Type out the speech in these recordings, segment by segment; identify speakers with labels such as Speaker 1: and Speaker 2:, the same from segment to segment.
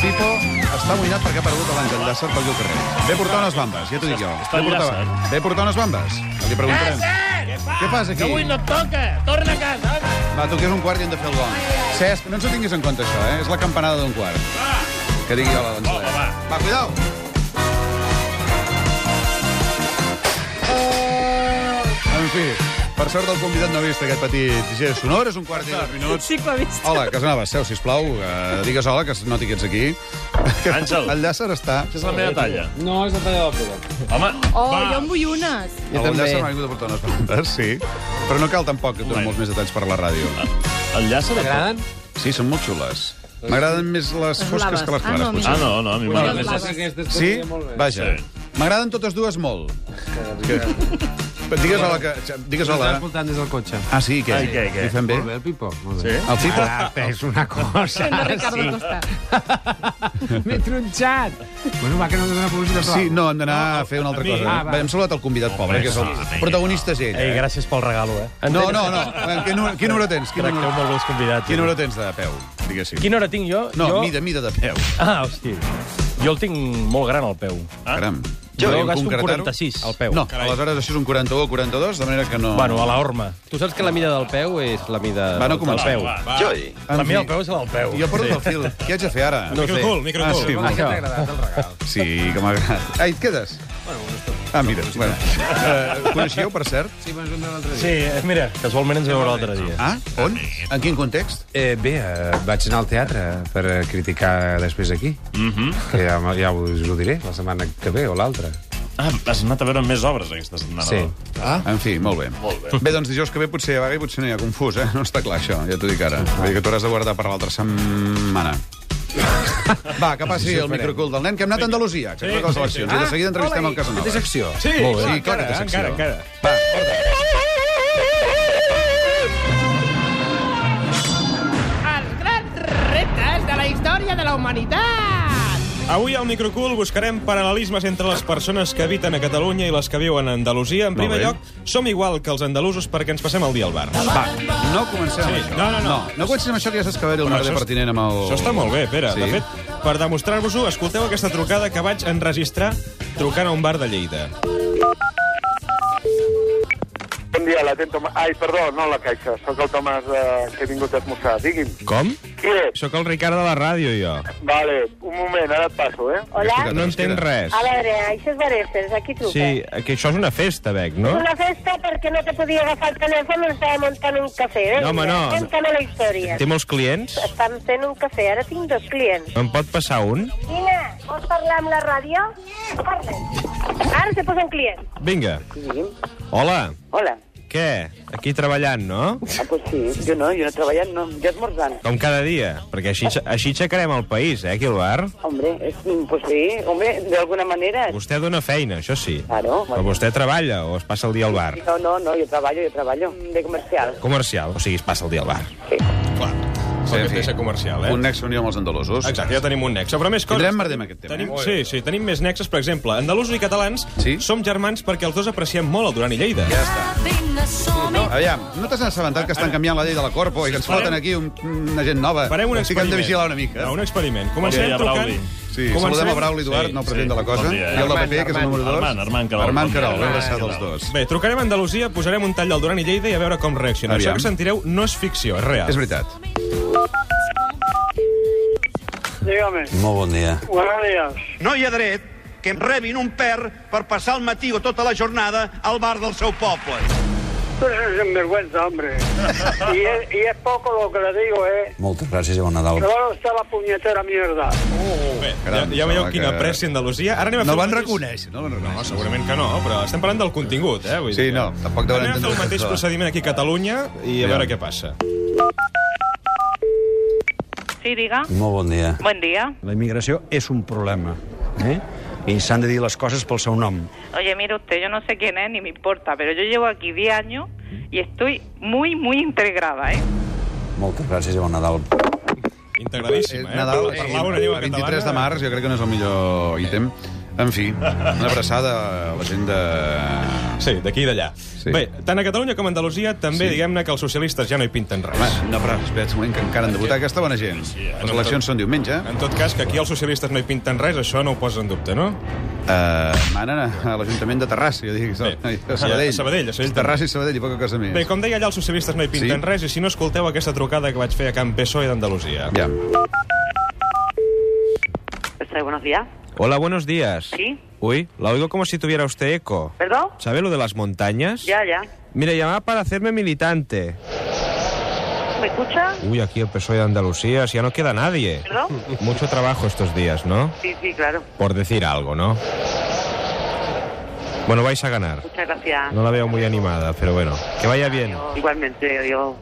Speaker 1: Pipo està amoïnat perquè ha perdut l'Àngel Llàcer pel lloc carrer. Ve portar unes bambes, ja t'ho dic jo.
Speaker 2: Està
Speaker 1: Ve portar,
Speaker 2: Llàcer.
Speaker 1: ve portar unes bambes. Li preguntarem.
Speaker 2: Què
Speaker 1: Què fas aquí?
Speaker 2: Que avui no et toca! Torna a casa!
Speaker 1: Va, tu que és un quart i hem de fer el gong. Cesc, no ens ho tinguis en compte, això, eh? És la campanada d'un quart.
Speaker 2: Va!
Speaker 1: Que digui hola, doncs.
Speaker 2: Home, va.
Speaker 1: Va, cuidao. En fi, per sort del convidat no ha vist aquest petit gest sonor. És un quart i dos minuts.
Speaker 3: Sí que ho he vist.
Speaker 1: Hola, Casanova, seu, sisplau. Uh, digues hola, que es noti que ets aquí.
Speaker 2: Àngel.
Speaker 1: El Llàcer està...
Speaker 2: Això és la meva talla.
Speaker 4: No, és la talla de la pera.
Speaker 2: Home,
Speaker 3: Oh,
Speaker 2: va!
Speaker 3: jo en vull unes.
Speaker 4: Jo
Speaker 1: el
Speaker 4: també.
Speaker 1: Llàcer m'ha vingut a portar unes preguntes, sí. Però no cal tampoc que et doni
Speaker 2: Bueno.
Speaker 1: molts més detalls per la ràdio.
Speaker 2: El llàcer...
Speaker 4: T'agraden?
Speaker 1: Sí, són molt xules. M'agraden més les fosques
Speaker 3: blaves.
Speaker 1: que les
Speaker 3: Ah,
Speaker 1: clares,
Speaker 3: no,
Speaker 1: potser.
Speaker 2: Ah, no, no, a mi
Speaker 4: Bueno,
Speaker 2: m'agrada
Speaker 3: les
Speaker 2: més...
Speaker 3: blaves.
Speaker 2: el-
Speaker 4: les aquestes
Speaker 1: Sí?
Speaker 4: molt bé.
Speaker 1: Vaja.
Speaker 2: Sí.
Speaker 1: M'agraden totes dues molt.
Speaker 4: Que...
Speaker 1: Digues hola, que... Digues
Speaker 4: Estava
Speaker 1: hola.
Speaker 4: escoltant des del cotxe.
Speaker 1: Ah, sí, què?
Speaker 2: Ai, què, què?
Speaker 1: Li fem bé?
Speaker 4: Molt bé, el Pipo. Molt
Speaker 2: Sí?
Speaker 4: bé.
Speaker 1: El Pipo?
Speaker 4: és una cosa.
Speaker 3: Fent de Ricardo Costa.
Speaker 4: M'he tronxat. Bueno, va, que no ens dona publicitat.
Speaker 1: Sí, no, hem d'anar a fer una altra
Speaker 2: mi.
Speaker 1: cosa.
Speaker 4: Ah, va.
Speaker 1: Va, hem saludat el convidat, pobre, que és el
Speaker 2: sí,
Speaker 1: protagonista és ell.
Speaker 5: Ei,
Speaker 1: eh?
Speaker 5: gràcies pel regalo, eh?
Speaker 1: No, no, no. Quin número, quin número tens? Quin
Speaker 5: Tracteu
Speaker 1: número,
Speaker 5: molt bé els convidats.
Speaker 1: quin
Speaker 5: eh?
Speaker 1: número tens de peu, diguéssim?
Speaker 5: Quina hora tinc jo?
Speaker 1: No,
Speaker 5: jo...
Speaker 1: mida, mida de peu.
Speaker 5: Ah, hòstia. Jo el tinc molt gran al peu.
Speaker 2: Ah.
Speaker 1: Caram.
Speaker 5: Jo
Speaker 1: Podríem
Speaker 5: gasto un
Speaker 1: concretar-ho?
Speaker 5: 46 al peu.
Speaker 1: No, aleshores això és un 41 o 42, de manera que no...
Speaker 5: Bueno, a la horma.
Speaker 6: Tu saps que la mida del peu és la mida
Speaker 1: Va, no
Speaker 6: del-
Speaker 1: comencem.
Speaker 6: del peu.
Speaker 2: Va,
Speaker 7: Jo hi.
Speaker 1: En
Speaker 5: La
Speaker 1: fi,
Speaker 5: meva al peu és la del peu.
Speaker 1: Jo perdo el fil. Què haig de fer ara?
Speaker 6: No sé.
Speaker 8: Microtul,
Speaker 1: Ah, sí,
Speaker 8: microtul.
Speaker 4: Va,
Speaker 1: molt.
Speaker 4: que t'ha agradat el regal.
Speaker 1: sí, que m'ha agradat. Ai, et quedes? Ah, mira, bueno. Eh, coneixíeu, per cert?
Speaker 4: Sí, me'n vam veure l'altre dia.
Speaker 5: Sí, eh, mira, casualment ens vam veure l'altre dia.
Speaker 1: Ah, on? En quin context?
Speaker 4: Eh, bé, eh, vaig anar al teatre per eh, criticar després aquí.
Speaker 8: Mhm.
Speaker 4: Mm -hmm. Que ja, ja us ho diré la setmana que ve o l'altra.
Speaker 2: Ah, has anat a veure més obres aquesta
Speaker 8: Ah.
Speaker 2: setmana.
Speaker 4: Sí.
Speaker 2: no?
Speaker 1: En fi, molt bé. Molt bé. Bé, doncs dijous que ve potser hi ha vaga i potser no hi ha confús, eh? No està clar, això, ja t'ho dic ara. Vull dir que t'hauràs de guardar per l'altra setmana. Va, que passi el microcul del nen, que hem anat a Andalusia, que toca les eleccions. I de seguida entrevistem el Casanova.
Speaker 4: Té secció.
Speaker 2: Sí,
Speaker 1: Molt bé.
Speaker 2: clar,
Speaker 1: Sí, clar que té
Speaker 2: encara,
Speaker 1: secció.
Speaker 2: encara, encara.
Speaker 1: Va, porta.
Speaker 3: Els grans reptes de la història de la humanitat.
Speaker 8: Avui al Microcool buscarem paral·lelismes entre les persones que habiten a Catalunya i les que viuen a Andalusia. En primer
Speaker 1: bé. Oh.
Speaker 8: lloc, som igual que els andalusos perquè ens passem el dia al bar.
Speaker 1: Va, no comencem amb això.
Speaker 8: no, no, no.
Speaker 1: No comencem amb això, que ja saps que va haver-hi el
Speaker 8: Però
Speaker 1: merder
Speaker 8: això és-
Speaker 1: pertinent amb el...
Speaker 8: Això està molt bé, Pere.
Speaker 1: Sí.
Speaker 8: De fet, per demostrar-vos-ho, escolteu aquesta trucada que vaig enregistrar trucant a un bar de Lleida.
Speaker 9: Bon dia, la tento... Ai, perdó, no la caixa. Sóc el Tomàs de... que he vingut a esmorzar. Digui'm,
Speaker 8: Com?
Speaker 9: qui és?
Speaker 8: Sóc el Ricard de la ràdio, jo.
Speaker 9: Vale, un moment, ara et passo, eh?
Speaker 1: Hola.
Speaker 8: No entenc res.
Speaker 10: A veure, això és Bareses, aquí truca.
Speaker 8: Sí, que això és una festa, Bec, no?
Speaker 10: Una festa perquè no te podia agafar el telèfon, estava muntant un cafè. Eh?
Speaker 8: No, home, no.
Speaker 10: Estem a la història.
Speaker 8: Té molts clients?
Speaker 10: Estan fent un cafè, ara tinc dos clients.
Speaker 8: Em pot passar un?
Speaker 10: Nina, vols parlar amb la ràdio? Parla. Ara se posa un client.
Speaker 8: Vinga. Hola.
Speaker 9: Hola.
Speaker 8: Què? Aquí treballant, no?
Speaker 9: Ah, pues sí. Jo no, jo no treballant, no. Jo esmorzant.
Speaker 8: Com cada dia, perquè així, així aixecarem el país, eh, aquí al bar.
Speaker 9: Hombre, es... pues sí, hombre, de alguna manera...
Speaker 8: Vostè dona feina, això sí.
Speaker 9: Claro.
Speaker 8: Però vostè treballa o es passa el dia al bar?
Speaker 9: No, no, no, jo treballo, jo treballo. De comercial.
Speaker 8: Comercial, o sigui, es passa el dia al bar.
Speaker 9: Sí.
Speaker 8: Clar,
Speaker 1: Sí, en fi.
Speaker 8: comercial, eh?
Speaker 1: Un nexe unió amb els andalusos.
Speaker 8: Exacte, ja tenim un nexe. Però més coses...
Speaker 1: Tindrem merder amb aquest tema.
Speaker 8: Tenim,
Speaker 1: eh?
Speaker 8: sí, sí, tenim més nexes, per exemple. Andalusos i catalans
Speaker 1: Sí?
Speaker 8: som germans perquè els dos apreciem molt el Duran i Lleida.
Speaker 1: Ja està. No, aviam, no t'has assabentat que estan canviant la llei de la Corpo i que ens
Speaker 8: Eh? Farem-
Speaker 1: falten aquí un, una gent nova?
Speaker 8: Farem un
Speaker 1: Sí que hem
Speaker 8: experiment.
Speaker 1: de vigilar una mica.
Speaker 8: Va, un experiment. Comencem
Speaker 2: Bon dia,
Speaker 8: trucant...
Speaker 2: Brauli.
Speaker 1: Sí, saludem a Brauli Duart,
Speaker 2: sí,
Speaker 1: nou president
Speaker 2: sí.
Speaker 1: de la cosa,
Speaker 2: Bon dia,
Speaker 1: i el
Speaker 2: eh?
Speaker 1: de
Speaker 2: Armand,
Speaker 1: PP, que és el número 2.
Speaker 2: Armand, Armand Querol.
Speaker 1: Armand
Speaker 2: Bon
Speaker 1: Querol,
Speaker 2: dia.
Speaker 1: ben abraçat
Speaker 2: Armand
Speaker 1: els dos.
Speaker 8: Bé, trucarem a Andalusia, posarem un tall del Duran i Lleida i a veure com reacciona.
Speaker 1: Aviam.
Speaker 8: Això que sentireu no és ficció, és real.
Speaker 1: És veritat.
Speaker 9: Dígame.
Speaker 6: Molt bon dia.
Speaker 9: Buenos días.
Speaker 11: No hi ha dret que em rebin un per per passar el matí o tota la jornada al bar del seu poble.
Speaker 9: Tú eres sinvergüenza, hombre. Y es, y es poco lo que le digo, eh.
Speaker 6: Moltes gràcies i bon Nadal.
Speaker 9: Claro, está la puñetera mierda.
Speaker 8: Bé, ja,
Speaker 1: Oh, Caram,
Speaker 8: ja veieu
Speaker 1: home,
Speaker 8: quina
Speaker 1: que-
Speaker 8: pressa Andalusia. Ara anem a
Speaker 1: No
Speaker 8: fer el
Speaker 1: van
Speaker 8: mateix-
Speaker 1: reconèixer, no van
Speaker 8: No,
Speaker 1: reconèixer.
Speaker 8: segurament que no, però estem parlant del contingut, eh? Vull
Speaker 1: Sí,
Speaker 8: dir que-
Speaker 1: no, tampoc deuen
Speaker 8: Anem a fer
Speaker 1: entendre
Speaker 8: el mateix
Speaker 1: tot.
Speaker 8: procediment aquí a Catalunya i a
Speaker 1: Ja.
Speaker 8: veure què passa.
Speaker 10: Sí, diga.
Speaker 6: Molt bon dia.
Speaker 10: Bon dia.
Speaker 5: La immigració és un problema, eh? I s'han de dir les coses pel seu nom.
Speaker 10: Oye, mire usted, yo no sé quién es ni me importa, pero yo llevo aquí 10 años y estoy muy, muy integrada, ¿eh?
Speaker 6: Moltes gràcies i bon Nadal.
Speaker 8: Integradíssima, eh?
Speaker 1: Nadal,
Speaker 8: Parlava una llengua
Speaker 1: el 23 de
Speaker 8: catalana.
Speaker 1: març, jo crec que no és el millor ítem. Eh, En fi, una abraçada a la gent de...
Speaker 8: Sí, d'aquí i d'allà. Sí. Bé, tant a Catalunya com a Andalusia també sí. diguem-ne que els socialistes ja no hi pinten res.
Speaker 1: Home, no, però espera't un moment que encara han de votar aquesta bona gent.
Speaker 8: eh,
Speaker 1: Les eleccions són diumenge.
Speaker 8: En tot cas, que aquí els socialistes no hi pinten res, això no ho posa en dubte, no?
Speaker 1: Uh, manen a l'Ajuntament de Terrassa, jo dic. A Sabadell.
Speaker 8: A Sabadell, a Sabadell
Speaker 1: Terrassa i Sabadell, i poca cosa més.
Speaker 8: Bé, com deia allà, els socialistes no hi pinten
Speaker 1: Sí.
Speaker 8: sí. res, i si no, escolteu aquesta trucada que vaig fer a Can PSOE E d'Andalusia.
Speaker 1: Ja.
Speaker 10: Este, buenos días.
Speaker 5: Hola, buenos días.
Speaker 10: Sí.
Speaker 5: Uy, la oigo como si tuviera usted eco.
Speaker 10: ¿Perdón?
Speaker 5: ¿Sabe lo de las montañas?
Speaker 10: Ya, ya.
Speaker 5: Mire, llamaba para hacerme militante.
Speaker 10: ¿Me escucha?
Speaker 5: Uy, aquí el PSOE de Andalucía, E si ya no queda nadie.
Speaker 10: ¿Perdón?
Speaker 5: Mucho trabajo estos días, ¿no?
Speaker 10: Sí, sí, claro.
Speaker 5: Por decir algo, ¿no? Bueno, vais a ganar.
Speaker 10: Muchas gracias.
Speaker 5: No la veo muy animada, pero bueno, que vaya bien.
Speaker 10: Igualmente, adiós.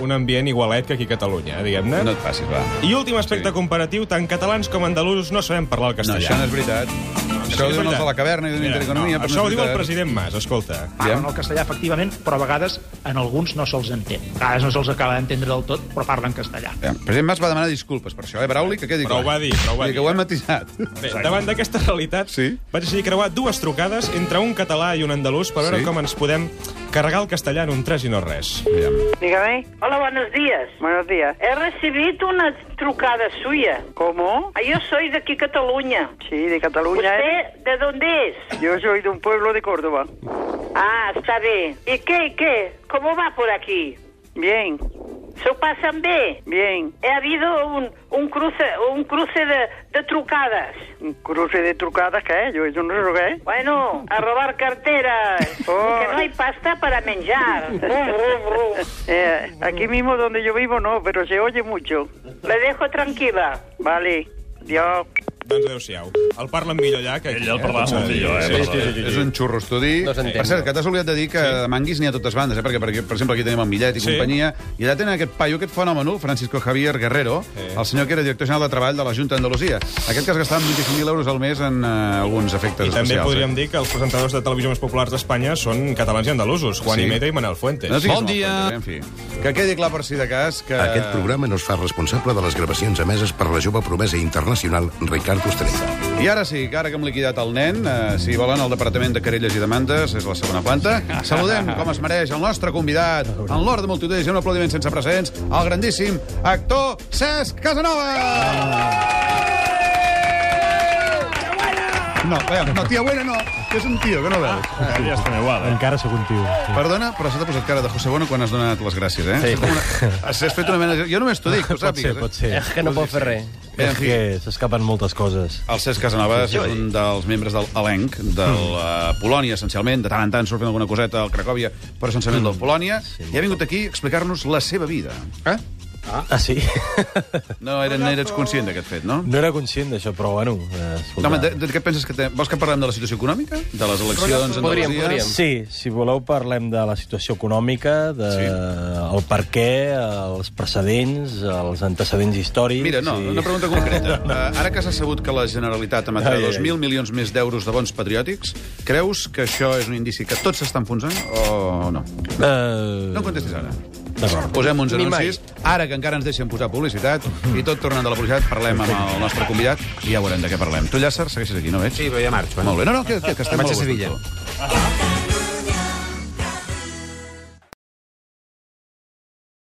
Speaker 8: Un ambient igualet que aquí a Catalunya, eh, diguem-ne.
Speaker 1: No et passis, va.
Speaker 8: I últim aspecte sí. comparatiu, tant catalans com andalusos no sabem parlar el
Speaker 1: No,
Speaker 8: castellà.
Speaker 1: això no és veritat. Això ho diuen els de la caverna i de l'Intereconomia,
Speaker 8: no,
Speaker 1: però
Speaker 8: això
Speaker 1: no
Speaker 8: ho
Speaker 1: és
Speaker 8: diu el
Speaker 1: veritat.
Speaker 8: president Mas, escolta.
Speaker 1: Aviam.
Speaker 7: Parlen el castellà, efectivament, però a vegades en alguns no se'ls entén. A vegades no se'ls acaba d'entendre del tot, però parlen castellà.
Speaker 1: Ja, El president Mas va demanar disculpes per això, eh, Brauli, que quedi
Speaker 8: Però
Speaker 1: clar.
Speaker 8: ho va dir, però ho va
Speaker 1: Vull dir
Speaker 8: dir.
Speaker 1: Que ho hem matisat.
Speaker 8: Bé, davant d'aquesta realitat,
Speaker 1: Sí.
Speaker 8: vaig decidir creuar dues trucades entre un català i un andalús per veure
Speaker 1: Sí.
Speaker 8: com ens podem carregar el castellà en un tres i no res.
Speaker 1: Aviam.
Speaker 10: Dígame.
Speaker 12: Hola, buenos días.
Speaker 10: Buenos días.
Speaker 12: He recibido una trucada suya.
Speaker 10: ¿Cómo?
Speaker 12: Ah, Yo soy de aquí, Cataluña.
Speaker 10: Sí, de Cataluña. ¿eh?
Speaker 12: ¿Usted de dónde es?
Speaker 10: Yo soy de un pueblo de Córdoba.
Speaker 12: Ah, está bien. ¿Y qué, qué? ¿Cómo va por aquí?
Speaker 10: Bien,
Speaker 12: ¿Se pasan bien?
Speaker 10: bien.
Speaker 12: He habido un, un cruce, un cruce de, de trucadas.
Speaker 10: Un cruce de trucadas que es, yo, yo no sé lo que es.
Speaker 12: Bueno, a robar carteras,
Speaker 10: Oh.
Speaker 12: que no hay pasta para menjar. Rum, rum, rum.
Speaker 10: Eh, aquí mismo donde yo vivo no, pero se oye mucho.
Speaker 12: Le dejo tranquila.
Speaker 10: Vale, Dios.
Speaker 8: Doncs adéu-siau. El parlen millor allà que aquí.
Speaker 2: Ell el parlava
Speaker 8: Potser
Speaker 2: molt millor, eh,
Speaker 8: sí,
Speaker 2: parlava
Speaker 8: sí, sí, sí,
Speaker 1: És
Speaker 8: sí.
Speaker 1: un xurro estudi.
Speaker 5: No s'entén,
Speaker 1: per cert, que t'has oblidat de dir que de manguis n'hi ha a totes bandes, eh? perquè, per, per exemple, aquí tenim el Millet i
Speaker 8: Sí.
Speaker 1: companyia, i allà tenen aquest paio, aquest fenomen, el Francisco Javier Guerrero, el senyor que era director general de treball de la Junta d'Andalusia. Aquest que es gastava 25.000 euros al mes en uh, alguns efectes
Speaker 8: I també
Speaker 1: especials.
Speaker 8: podríem
Speaker 1: eh?
Speaker 8: dir que els presentadors de televisió més populars d'Espanya són catalans i andalusos, Juan
Speaker 1: Sí.
Speaker 8: sí. Imeta i Manel Fuentes.
Speaker 1: No bon dia! en fi. Que quedi clar per si de cas que...
Speaker 13: eh,
Speaker 14: Aquest programa no es fa responsable de les gravacions emeses per la jove promesa internacional Ricard Costanera.
Speaker 1: I ara sí, que ara que hem liquidat el nen, eh, si volen, el Departament de Querelles i Demandes, és la segona planta. Saludem, com es mereix, el nostre convidat, en l'hora de multitudes i un aplaudiment sense precedents, el grandíssim actor Cesc Casanova! No, veiem, no, tia buena no, que és un tio, que no veus.
Speaker 2: Ja estan igual, eh?
Speaker 13: Encara sóc un tio.
Speaker 1: Perdona, però s'ha posat cara de José Bono quan has donat les gràcies, eh? Sí. Una... Has fet una mena... Jo només t'ho dic, que ho
Speaker 13: Pot ser,
Speaker 1: sàpigues.
Speaker 13: pot ser.
Speaker 1: Eh?
Speaker 13: És que no pot fer res.
Speaker 1: Bé, en
Speaker 13: És
Speaker 1: fi.
Speaker 13: que s'escapen moltes coses.
Speaker 1: El Cesc Casanovas és un dels membres del elenc de
Speaker 13: Mm.
Speaker 1: la Polònia, essencialment. De tant en tant surt fent alguna coseta al Cracòvia, però essencialment
Speaker 13: Mm.
Speaker 1: del Polònia. I ha vingut aquí a explicar-nos la seva vida. Eh?
Speaker 13: Ah, ah sí?
Speaker 1: No, era, no eres conscient d'aquest fet, no?
Speaker 13: No era conscient d'això, però bueno... eh,
Speaker 1: No,
Speaker 13: escolta.
Speaker 1: home, de, de què penses que... Te... Vols que parlem de la situació econòmica? De les eleccions?
Speaker 13: Podríem,
Speaker 1: Andalusia?
Speaker 13: podríem. Sí, si voleu parlem de la situació econòmica, de sí. el per què, els precedents, els antecedents històrics...
Speaker 1: Mira, no,
Speaker 13: i...
Speaker 1: una pregunta concreta. Uh, ara que s'ha sabut que la Generalitat emetrà
Speaker 13: Ai, ai, ai.
Speaker 1: 2.000 milions més d'euros de bons patriòtics, creus que això és un indici que tot s'està enfonsant o no?
Speaker 13: Uh...
Speaker 1: No em contestis ara.
Speaker 13: D'acord.
Speaker 1: Posem uns
Speaker 13: Ni
Speaker 1: anuncis. Ara que encara ens deixen posar publicitat, i tot tornant de la publicitat, parlem amb el nostre convidat i ja veurem de què parlem. Tu, Llàcer, segueixes aquí, no veig?
Speaker 4: Sí, però ja marxo. Eh?
Speaker 1: Molt bé. No, no, que, que, que estem
Speaker 4: Vaig
Speaker 1: molt
Speaker 4: a
Speaker 1: gust amb
Speaker 4: Sevilla.
Speaker 1: tu.